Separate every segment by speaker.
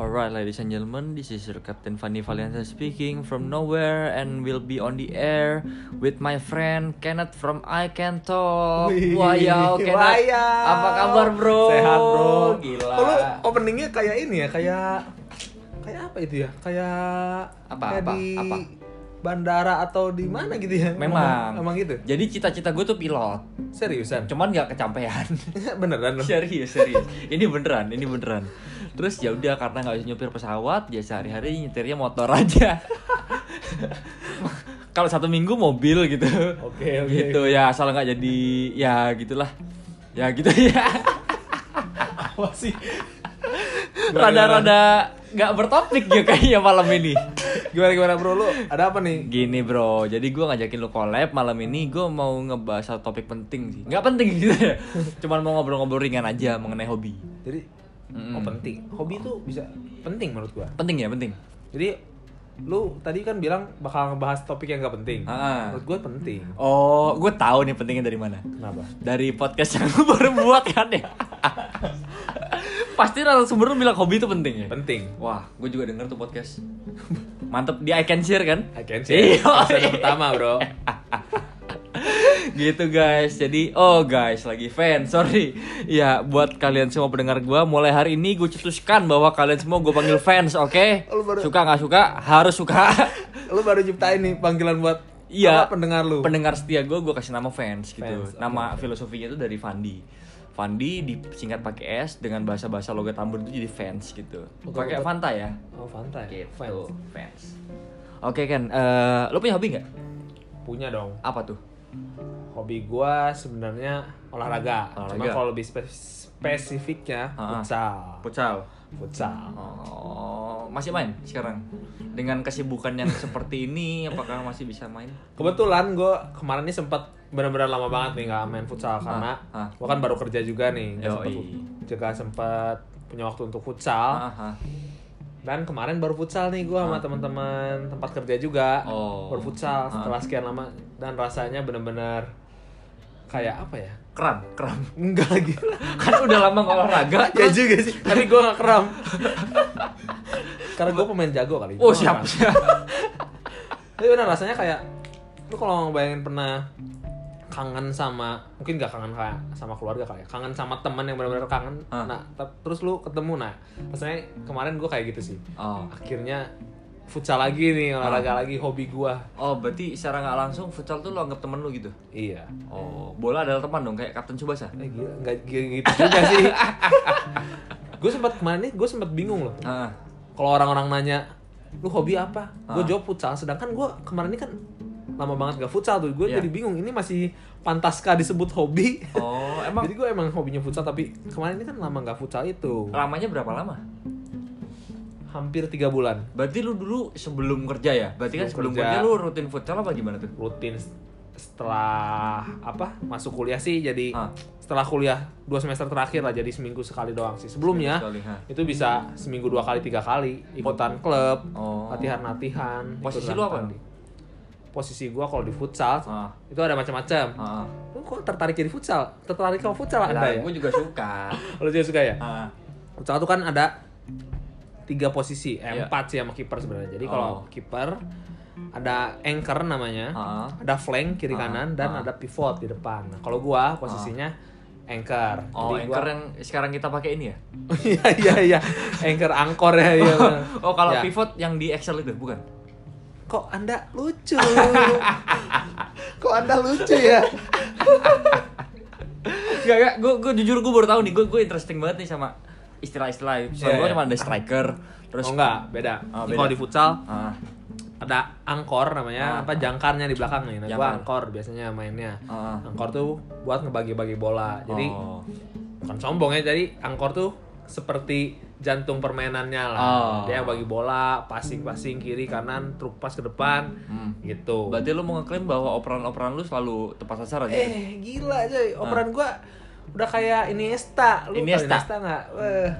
Speaker 1: Alright, ladies and gentlemen, this is your Captain Fanny Valencia speaking from nowhere and will be on the air with my friend Kenneth from I Can Talk.
Speaker 2: Wih,
Speaker 1: Wayau, Kenneth.
Speaker 2: wayau.
Speaker 1: ya, Apa kabar, bro?
Speaker 2: Sehat bro.
Speaker 1: Gila.
Speaker 2: Oh, lu openingnya kayak ini ya, kayak kayak apa itu ya? Kayak
Speaker 1: Apa,
Speaker 2: kayak
Speaker 1: apa,
Speaker 2: di
Speaker 1: apa?
Speaker 2: bandara atau di mana gitu ya?
Speaker 1: Memang.
Speaker 2: Emang, emang gitu.
Speaker 1: Jadi cita-cita gue tuh pilot,
Speaker 2: Seriusan.
Speaker 1: cuman nggak kecapean.
Speaker 2: Beneran loh.
Speaker 1: serius, serius. Ini beneran, ini beneran. Terus ya udah karena nggak bisa nyupir pesawat, ya sehari-hari nyetirnya motor aja. Kalau satu minggu mobil gitu.
Speaker 2: Oke, oke.
Speaker 1: Gitu ya, asal nggak jadi ya gitulah. Ya gitu ya.
Speaker 2: Apa sih?
Speaker 1: Rada-rada nggak bertopik ya kayaknya malam ini.
Speaker 2: Gimana gimana bro lu? Ada apa nih?
Speaker 1: Gini bro, jadi gue ngajakin lu collab malam ini gue mau ngebahas satu topik penting sih Nggak penting gitu ya, cuman mau ngobrol-ngobrol ringan aja mengenai hobi
Speaker 2: Jadi
Speaker 1: Mm-mm.
Speaker 2: oh penting. Hobi itu bisa penting menurut gua.
Speaker 1: Penting ya, penting?
Speaker 2: Jadi lu tadi kan bilang bakal ngebahas topik yang gak penting.
Speaker 1: Ah.
Speaker 2: Menurut gua penting.
Speaker 1: Oh, gue tahu nih pentingnya dari mana
Speaker 2: Kenapa?
Speaker 1: Dari podcast yang gue baru buat kan ya Pasti narasumber lu bilang hobi itu penting ya?
Speaker 2: Penting.
Speaker 1: Wah, gue juga denger tuh podcast Mantep, di I Can Share kan?
Speaker 2: I can see.
Speaker 1: Iya.
Speaker 2: Episode pertama bro.
Speaker 1: gitu guys jadi oh guys lagi fan sorry ya buat kalian semua pendengar gua mulai hari ini gue cetuskan bahwa kalian semua gue panggil fans oke
Speaker 2: Lu baru-
Speaker 1: suka nggak suka harus suka
Speaker 2: lu baru ciptain nih panggilan buat
Speaker 1: iya
Speaker 2: apa, pendengar lu
Speaker 1: pendengar setia gue gue kasih nama fans gitu
Speaker 2: Fans, oke.
Speaker 1: nama filosofinya itu dari Fandi Fandi disingkat pakai S dengan bahasa bahasa logat Ambon itu jadi fans gitu
Speaker 2: Oke,
Speaker 1: pakai
Speaker 2: oke.
Speaker 1: Fanta ya
Speaker 2: oh pantai
Speaker 1: gitu
Speaker 2: Fans.
Speaker 1: fans oke kan eh, lo punya hobi nggak
Speaker 2: punya dong
Speaker 1: apa tuh
Speaker 2: hobi gua sebenarnya olahraga,
Speaker 1: Olahraga.
Speaker 2: cuma kalau lebih spe- spesifiknya
Speaker 1: Ah, ah.
Speaker 2: futsal
Speaker 1: pucal
Speaker 2: futsal
Speaker 1: Oh, masih main sekarang? Dengan kesibukan yang seperti ini, apakah masih bisa main?
Speaker 2: kebetulan gua kemarin nih sempat benar-benar lama banget nih nggak main futsal karena
Speaker 1: ah.
Speaker 2: gua kan baru kerja juga nih nggak sempat
Speaker 1: Yoi.
Speaker 2: juga sempat punya waktu untuk futsal
Speaker 1: Aha.
Speaker 2: dan kemarin baru futsal nih gua sama teman-teman tempat kerja juga
Speaker 1: Hmm. Oh.
Speaker 2: baru futsal setelah sekian lama dan rasanya benar-benar kayak apa ya
Speaker 1: Kram, kram.
Speaker 2: Enggak lagi.
Speaker 1: Kan udah lama nggak olahraga. terus-
Speaker 2: ya juga sih, tapi gue gak kram. Karena gue pemain jago kali.
Speaker 1: Oh,
Speaker 2: Gua gak
Speaker 1: siap,
Speaker 2: kram.
Speaker 1: siap.
Speaker 2: Tapi benar rasanya kayak lu kalau ngebayangin pernah kangen sama mungkin gak kangen kayak sama keluarga kali ya kangen sama teman yang benar-benar kangen
Speaker 1: Ah.
Speaker 2: nah te- terus lu ketemu nah rasanya kemarin gue kayak gitu sih
Speaker 1: Oh.
Speaker 2: akhirnya futsal lagi nih
Speaker 1: Ah.
Speaker 2: olahraga lagi hobi gua
Speaker 1: Oh, berarti secara nggak langsung futsal tuh lo anggap temen lo gitu.
Speaker 2: iya
Speaker 1: Oh, bola adalah teman dong kayak Kapten Subasa.
Speaker 2: eh, gila nggak gila gitu juga sih gue sempat kemarin nih gue sempat bingung loh
Speaker 1: Ah.
Speaker 2: kalau orang-orang nanya lu hobi apa gue
Speaker 1: Ah.
Speaker 2: jawab futsal sedangkan gue kemarin ini kan lama banget gak futsal tuh gue
Speaker 1: Iya.
Speaker 2: jadi bingung ini masih pantaskah disebut hobi
Speaker 1: Oh, emang
Speaker 2: jadi gue emang hobinya futsal tapi kemarin ini kan lama gak futsal itu
Speaker 1: lamanya berapa lama?
Speaker 2: hampir tiga bulan
Speaker 1: Berarti lu dulu sebelum kerja ya? Berarti kan sebelum
Speaker 2: Sebelum
Speaker 1: kerja
Speaker 2: kerja.
Speaker 1: lu rutin futsal apa gimana tuh?
Speaker 2: rutin s- setelah apa masuk kuliah sih jadi
Speaker 1: Ah.
Speaker 2: setelah kuliah dua semester terakhir lah jadi seminggu sekali doang sih sebelumnya
Speaker 1: Sekali, ha.
Speaker 2: itu bisa seminggu dua kali tiga kali ikutan klub
Speaker 1: Oh.
Speaker 2: latihan-latihan
Speaker 1: Posisi
Speaker 2: ikutan
Speaker 1: lu apa?
Speaker 2: tanding. posisi gua kalau di futsal
Speaker 1: Ah.
Speaker 2: itu ada macam-macam
Speaker 1: Ah.
Speaker 2: lu kok tertarik jadi futsal tertarik sama futsal anda
Speaker 1: Lah,
Speaker 2: ya
Speaker 1: gue juga suka.
Speaker 2: lu juga suka ya
Speaker 1: Ah.
Speaker 2: futsal itu kan ada tiga posisi
Speaker 1: Iya.
Speaker 2: eh, empat sih sama kiper sebenarnya jadi
Speaker 1: Oh.
Speaker 2: kalau kiper ada anchor namanya
Speaker 1: Ah.
Speaker 2: ada flank kiri
Speaker 1: Ah.
Speaker 2: kanan dan
Speaker 1: Ah.
Speaker 2: ada pivot di depan nah, kalau gua posisinya anchor
Speaker 1: Oh,
Speaker 2: Jadi
Speaker 1: anchor yang sekarang kita pakai ini ya?
Speaker 2: iya iya iya anchor angkor ya iya benar.
Speaker 1: Oh kalau
Speaker 2: Ya.
Speaker 1: pivot yang di Excel itu bukan?
Speaker 2: kok anda lucu kok anda lucu ya
Speaker 1: Gak gak, gue jujur gue baru tahu nih, gue gue interesting banget nih sama istilah-istilah. Soalnya
Speaker 2: Iya,
Speaker 1: gue
Speaker 2: iya.
Speaker 1: cuma ada striker, terus
Speaker 2: oh enggak beda,
Speaker 1: Ah,
Speaker 2: Jadi
Speaker 1: beda.
Speaker 2: kalau di futsal
Speaker 1: Ah,
Speaker 2: ada angkor
Speaker 1: Ah.
Speaker 2: namanya apa jangkarnya di belakang nih nah gua
Speaker 1: Jangkar.
Speaker 2: angkor biasanya mainnya
Speaker 1: Ah.
Speaker 2: angkor tuh buat ngebagi-bagi bola jadi
Speaker 1: oh.
Speaker 2: bukan sombong ya jadi angkor tuh seperti jantung permainannya lah
Speaker 1: Oh.
Speaker 2: dia yang bagi bola passing-passing kiri kanan truk pas ke depan
Speaker 1: Hmm.
Speaker 2: gitu
Speaker 1: berarti lu mau ngeklaim bahwa operan-operan lu selalu tepat sasaran ya?
Speaker 2: eh gila coy operan gua udah kayak Iniesta
Speaker 1: Ah.
Speaker 2: lu
Speaker 1: Iniesta.
Speaker 2: tau Iniesta nggak Weh,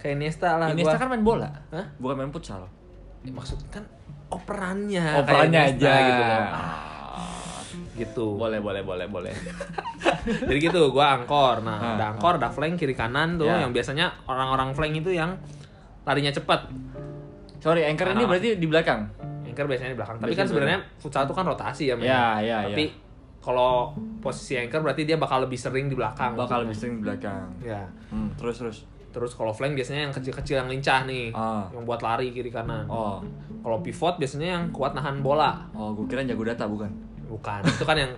Speaker 2: kayak Iniesta lah
Speaker 1: Iniesta
Speaker 2: gua
Speaker 1: kan main bola,
Speaker 2: Hah?
Speaker 1: bukan main futsal.
Speaker 2: Ya, maksud kan operannya Nah, kayak
Speaker 1: Operannya
Speaker 2: Iniesta
Speaker 1: aja.
Speaker 2: gitu loh.
Speaker 1: Ah,
Speaker 2: gitu
Speaker 1: Boleh boleh boleh boleh.
Speaker 2: jadi gitu gua angkor nah
Speaker 1: Ah,
Speaker 2: ada angkor ada flank kiri kanan tuh
Speaker 1: Ya.
Speaker 2: yang biasanya orang-orang flank itu yang larinya cepat.
Speaker 1: Sorry, anchor ini
Speaker 2: Anak.
Speaker 1: berarti di belakang.
Speaker 2: Anchor biasanya di belakang. Tapi kan
Speaker 1: Biasanya.
Speaker 2: sebenarnya futsal itu kan rotasi ya, men.
Speaker 1: Ya, ya,
Speaker 2: Tapi
Speaker 1: ya.
Speaker 2: kalau posisi anchor berarti dia bakal lebih sering di belakang.
Speaker 1: Bakal lebih sering di belakang.
Speaker 2: Ya.
Speaker 1: Hmm, terus terus.
Speaker 2: Terus kalau flank biasanya yang kecil-kecil yang lincah nih,
Speaker 1: Ah.
Speaker 2: yang buat lari kiri kanan.
Speaker 1: Oh,
Speaker 2: Kalau pivot biasanya yang kuat nahan bola.
Speaker 1: oh, gue kira jago data bukan?
Speaker 2: Bukan. itu kan yang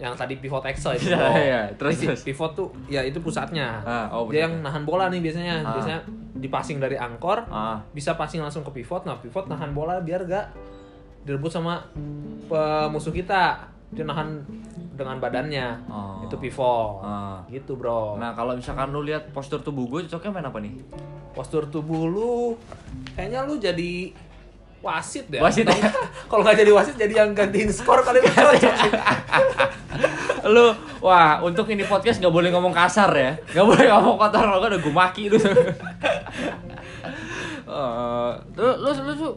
Speaker 2: yang tadi pivot Excel itu.
Speaker 1: Iya,
Speaker 2: bro.
Speaker 1: iya. Terus,
Speaker 2: Jadi
Speaker 1: terus.
Speaker 2: Pivot tuh ya itu pusatnya.
Speaker 1: Ah, oh, pusatnya.
Speaker 2: dia yang nahan bola nih biasanya.
Speaker 1: Ah.
Speaker 2: Biasanya dipassing dari angkor,
Speaker 1: Ah,
Speaker 2: bisa passing langsung ke pivot. Nah, pivot nahan bola biar gak direbut sama eh, musuh kita. Dia nahan dengan badannya.
Speaker 1: Oh.
Speaker 2: Itu pivot.
Speaker 1: Ah.
Speaker 2: Gitu, Bro.
Speaker 1: Nah, kalau misalkan lu lihat postur tubuh gue cocoknya main apa nih?
Speaker 2: Postur tubuh lu kayaknya lu jadi wasit deh.
Speaker 1: Wasit ya?
Speaker 2: Kalau nggak jadi wasit jadi yang gantiin skor kali lu cocok sih.
Speaker 1: lu wah, untuk ini podcast nggak boleh ngomong kasar ya. Nggak boleh ngomong kotor, kalau nggak udah gue maki lu. Eh, lu lu lu, lu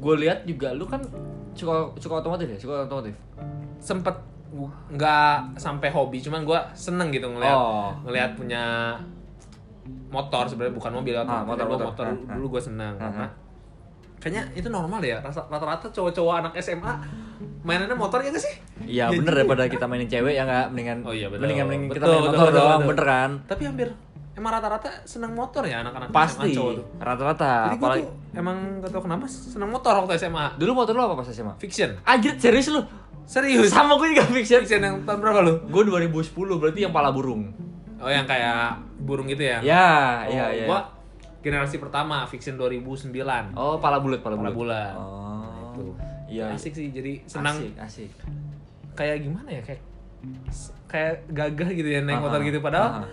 Speaker 1: gue lihat juga lu kan suka suka otomotif ya, suka otomotif.
Speaker 2: sempet w- nggak sampai hobi cuman gue seneng gitu ngeliat
Speaker 1: Oh.
Speaker 2: ngeliat punya motor sebenarnya bukan mobil ya,
Speaker 1: Ah, motor,
Speaker 2: motor,
Speaker 1: motor.
Speaker 2: motor
Speaker 1: Ah,
Speaker 2: dulu-
Speaker 1: ah.
Speaker 2: dulu gue seneng
Speaker 1: Ah,
Speaker 2: karena kayaknya itu normal ya rasa- rata-rata cowok-cowok anak SMA mainannya motor ya nggak sih
Speaker 1: Iya bener daripada kita mainin cewek ya nggak mendingan
Speaker 2: Oh iya, betul.
Speaker 1: mendingan mendingan kita
Speaker 2: Betul,
Speaker 1: main
Speaker 2: betul,
Speaker 1: motor
Speaker 2: betul,
Speaker 1: doang
Speaker 2: betul.
Speaker 1: bener kan
Speaker 2: tapi hampir emang rata-rata seneng motor ya anak-anak
Speaker 1: pasti
Speaker 2: SMA cowok tuh
Speaker 1: rata-rata
Speaker 2: jadi gue
Speaker 1: apalagi
Speaker 2: tuh emang gak tau kenapa seneng motor waktu SMA
Speaker 1: dulu motor lu apa pas SMA?
Speaker 2: fiction
Speaker 1: Anjir serius lu?
Speaker 2: serius
Speaker 1: Sama gue juga ya. fiction.
Speaker 2: fiction yang tahun berapa lu
Speaker 1: Gue 2010 berarti yang pala burung.
Speaker 2: oh yang kayak burung gitu ya
Speaker 1: Ya,
Speaker 2: Oh,
Speaker 1: iya iya.
Speaker 2: Gua generasi pertama, Fiction 2009.
Speaker 1: Oh, pala bulat, pala
Speaker 2: Pala
Speaker 1: bulat.
Speaker 2: bulat.
Speaker 1: Oh.
Speaker 2: Nah, Itu.
Speaker 1: Iya.
Speaker 2: Asik sih, jadi senang
Speaker 1: Asik, asik.
Speaker 2: kayak gimana ya kayak kayak gagah gitu ya naik
Speaker 1: Ah,
Speaker 2: motor
Speaker 1: ah,
Speaker 2: gitu padahal
Speaker 1: ah.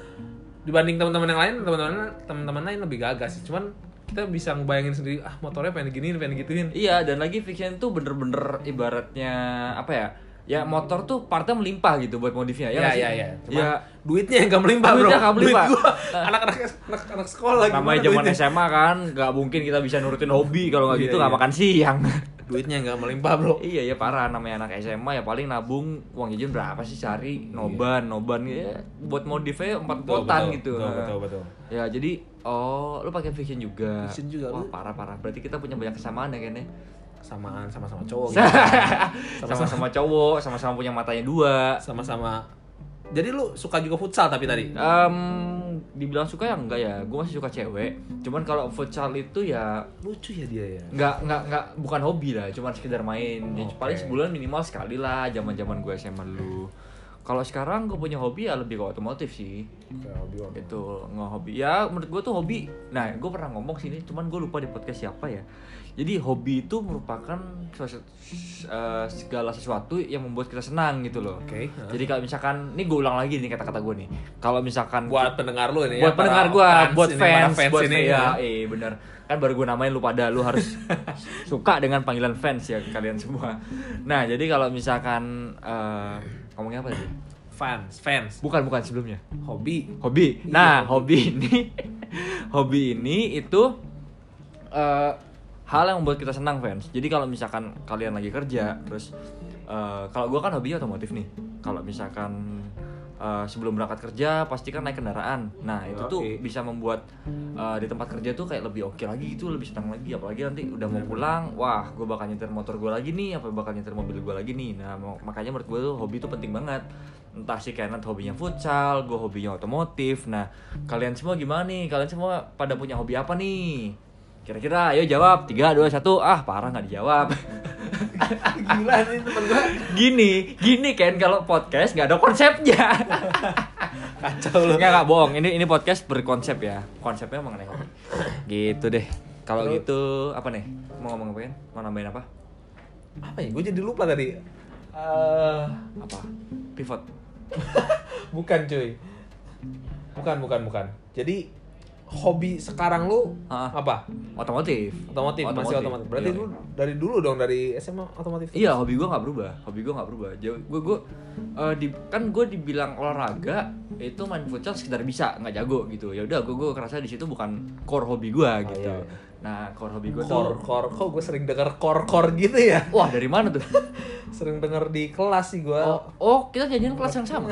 Speaker 2: dibanding teman-teman yang lain teman-teman teman-teman lain lebih gagah sih cuman kita bisa ngebayangin sendiri ah motornya pengen gini pengen gituin
Speaker 1: Iya, dan lagi fiction tuh bener-bener ibaratnya apa ya? Ya motor tuh partnya melimpah gitu buat modifnya ya.
Speaker 2: ya
Speaker 1: nggak sih?
Speaker 2: ya ya Cuman
Speaker 1: Ya,
Speaker 2: duitnya yang gak melimpah bro
Speaker 1: Duitnya nggak melimpah.
Speaker 2: Duit gua, anak-anak anak-anak sekolah
Speaker 1: namanya
Speaker 2: gimana
Speaker 1: zaman
Speaker 2: duitnya?
Speaker 1: SMA kan, nggak mungkin kita bisa nurutin hobi kalau nggak
Speaker 2: Iya,
Speaker 1: gitu nggak
Speaker 2: iya.
Speaker 1: makan siang.
Speaker 2: duitnya nggak melimpah bro
Speaker 1: iya ya parah namanya anak SMA ya paling nabung uang jajan berapa sih sehari noban noban ya buat modifnya empat botan gitu.
Speaker 2: Iya. betul betul betul
Speaker 1: Ya jadi oh lu pakai fiction juga.
Speaker 2: Fiction juga,
Speaker 1: Wah
Speaker 2: lu.
Speaker 1: parah parah. Berarti kita punya banyak kesamaan ya kayaknya.
Speaker 2: samaan sama-sama cowok
Speaker 1: Iya.
Speaker 2: gitu.
Speaker 1: Sama-sama cowok, sama-sama punya matanya dua.
Speaker 2: sama-sama jadi lu suka juga futsal tapi tadi
Speaker 1: Em dibilang suka ya enggak ya, gue masih suka cewek. Cuman kalau futsal itu ya
Speaker 2: lucu ya dia ya
Speaker 1: nggak nggak nggak bukan hobi lah, cuman sekedar main. Ya,
Speaker 2: Oke.
Speaker 1: Paling sebulan minimal sekali lah, zaman zaman gue SMA dulu. Kalau sekarang gue punya hobi ya lebih ke otomotif sih. itu nggak hobi Gitu, ya menurut gue tuh hobi nah gue pernah ngomong sini cuman gue lupa di podcast siapa ya jadi hobi itu merupakan sesu- s- eh, segala sesuatu yang membuat kita senang gitu loh
Speaker 2: Oke, heeh.
Speaker 1: jadi kalau misalkan ini gue ulang lagi nih kata-kata gue nih kalau misalkan
Speaker 2: buat pendengar lu ini
Speaker 1: buat
Speaker 2: ya,
Speaker 1: pendengar
Speaker 2: para
Speaker 1: gue
Speaker 2: fans
Speaker 1: buat
Speaker 2: ini, para
Speaker 1: fans, buat
Speaker 2: ini
Speaker 1: ya, eh bener kan baru gue namain lu pada lu harus suka dengan panggilan fans ya kalian semua nah jadi kalau misalkan eh, ngomongnya apa sih
Speaker 2: fans fans
Speaker 1: bukan bukan sebelumnya
Speaker 2: hobi
Speaker 1: hobi
Speaker 2: Iya,
Speaker 1: nah hobi ini hobi ini itu eh, hal yang membuat kita senang fans jadi kalau misalkan kalian lagi kerja terus eh, kalau gua kan hobinya otomotif nih kalau misalkan eh, sebelum berangkat kerja pasti kan naik kendaraan nah itu tuh
Speaker 2: Yoi.
Speaker 1: bisa membuat eh, di tempat kerja tuh kayak lebih oke lagi gitu lebih senang lagi apalagi nanti udah mau pulang wah gue bakal nyetir motor gue lagi nih apa bakal nyetir mobil gue lagi nih nah mau- makanya menurut gue tuh hobi tuh penting banget entah si Kenneth hobinya futsal gue hobinya otomotif nah kalian semua gimana nih kalian semua pada punya hobi apa nih kira-kira ayo jawab 3, 2, 1 ah parah nggak dijawab
Speaker 2: Ah, gila nih temen gue
Speaker 1: gini gini Ken kalau podcast nggak ada konsepnya
Speaker 2: kacau lu
Speaker 1: Enggak, enggak bohong. Ini ini podcast berkonsep ya. Konsepnya mengenai hobi. Gitu deh. Kalau
Speaker 2: Terus-
Speaker 1: gitu apa nih? Mau ngomong apa kan? Mau nambahin apa?
Speaker 2: apa ya gue jadi lupa tadi Eh,
Speaker 1: Apa? Pivot.
Speaker 2: bukan cuy bukan bukan bukan jadi hobi sekarang lu
Speaker 1: Ah.
Speaker 2: apa
Speaker 1: Otomotif.
Speaker 2: otomotif, masih otomotif berarti
Speaker 1: Iya.
Speaker 2: lu dari dulu dong dari SMA otomotif
Speaker 1: Iya, hobi gua nggak berubah. Hobi gua nggak berubah. Jauh gua gua eh, di, kan gua dibilang olahraga itu main futsal sekedar bisa, nggak jago gitu. Ya udah, gua gua kerasa di situ bukan core hobi gua
Speaker 2: Ah,
Speaker 1: gitu.
Speaker 2: iya, iya.
Speaker 1: Nah, core hobi gua
Speaker 2: kor
Speaker 1: tuh
Speaker 2: kor kok gue sering denger kor kor gitu ya
Speaker 1: Wah, dari mana tuh?
Speaker 2: sering denger di kelas sih gue
Speaker 1: Oh, oh, kita jadian kelas yang sama.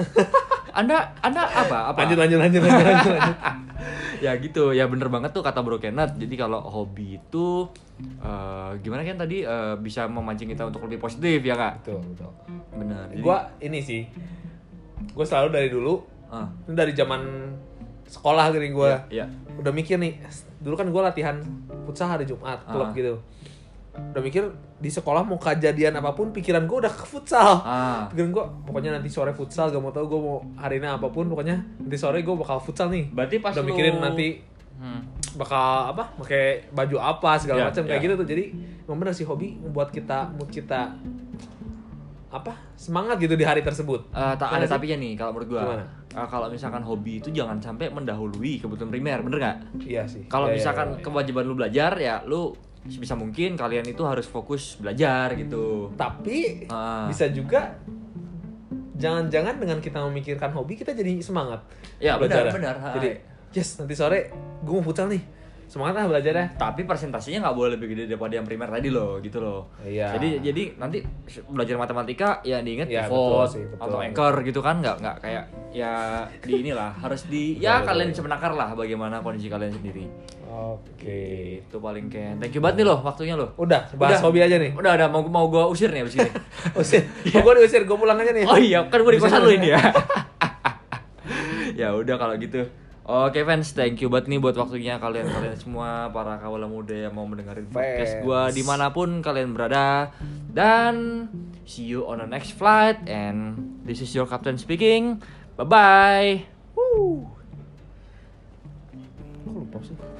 Speaker 1: Anda Anda apa? Apa?
Speaker 2: lanjut lanjut lanjut lanjut, lanjut, lanjut.
Speaker 1: ya gitu ya bener banget tuh kata Bro Kenneth jadi kalau hobi itu eh, gimana kan tadi eh, bisa memancing kita untuk lebih positif ya kak
Speaker 2: betul betul
Speaker 1: bener Jadi-
Speaker 2: gue Gitu, ini sih gue selalu dari dulu
Speaker 1: Ah,
Speaker 2: ini dari zaman sekolah gini gue
Speaker 1: iya
Speaker 2: udah mikir nih dulu kan gue latihan futsal hari Jumat
Speaker 1: Ah.
Speaker 2: klub gitu udah mikir di sekolah mau kejadian apapun pikiran gue udah ke futsal
Speaker 1: ah
Speaker 2: pikiran gue pokoknya nanti sore futsal gak mau tau gue mau hari ini apapun pokoknya nanti sore gue bakal futsal nih
Speaker 1: berarti pas
Speaker 2: udah
Speaker 1: lu-
Speaker 2: mikirin nanti
Speaker 1: Hmm.
Speaker 2: bakal apa pakai baju apa segala
Speaker 1: Ya,
Speaker 2: macam kayak
Speaker 1: ya.
Speaker 2: gitu tuh jadi emang bener sih hobi membuat kita mood kita apa semangat gitu di hari tersebut
Speaker 1: Eh, tak ada
Speaker 2: Gimana sih?
Speaker 1: tapinya nih kalau menurut gua.
Speaker 2: Gimana?
Speaker 1: Eh, kalau misalkan hobi itu jangan sampai mendahului kebutuhan primer, bener nggak?
Speaker 2: iya sih
Speaker 1: Kalau
Speaker 2: Iya, iya,
Speaker 1: misalkan
Speaker 2: iya.
Speaker 1: kewajiban lu belajar ya lu sebisa mungkin kalian itu harus fokus belajar gitu.
Speaker 2: tapi
Speaker 1: Ah.
Speaker 2: bisa juga jangan-jangan dengan kita memikirkan hobi kita jadi semangat
Speaker 1: Ya,
Speaker 2: belajar
Speaker 1: benar, benar. Ha.
Speaker 2: jadi yes nanti sore gue mau futsal nih semangat lah belajar ya
Speaker 1: Tapi presentasinya nggak boleh lebih gede daripada yang primer tadi loh, gitu loh.
Speaker 2: Iya.
Speaker 1: Jadi jadi nanti belajar matematika ya diinget
Speaker 2: Iya,
Speaker 1: pivot
Speaker 2: betul sih, betul.
Speaker 1: atau anchor gitu kan nggak nggak kayak ya di inilah harus di ya
Speaker 2: Betul,
Speaker 1: kalian
Speaker 2: betul.
Speaker 1: semenakar lah bagaimana kondisi kalian sendiri.
Speaker 2: oke
Speaker 1: Itu paling kayak thank you banget nih loh waktunya loh.
Speaker 2: udah bahas
Speaker 1: Udah.
Speaker 2: hobi aja nih
Speaker 1: Udah Iya. ada mau mau gua usir nih abis ini.
Speaker 2: usir gue diusir gue pulang aja nih
Speaker 1: oh iya, kan gua di
Speaker 2: Bisa
Speaker 1: kosan lu
Speaker 2: pulang.
Speaker 1: ini ya. ya udah kalau gitu. Oke fans, thank you banget nih buat waktunya kalian kalian semua para kawula muda yang mau mendengarin podcast gua
Speaker 2: Fans.
Speaker 1: dimanapun kalian berada dan see you on the next flight and this is your captain speaking. Bye bye.
Speaker 2: Kok lupa sih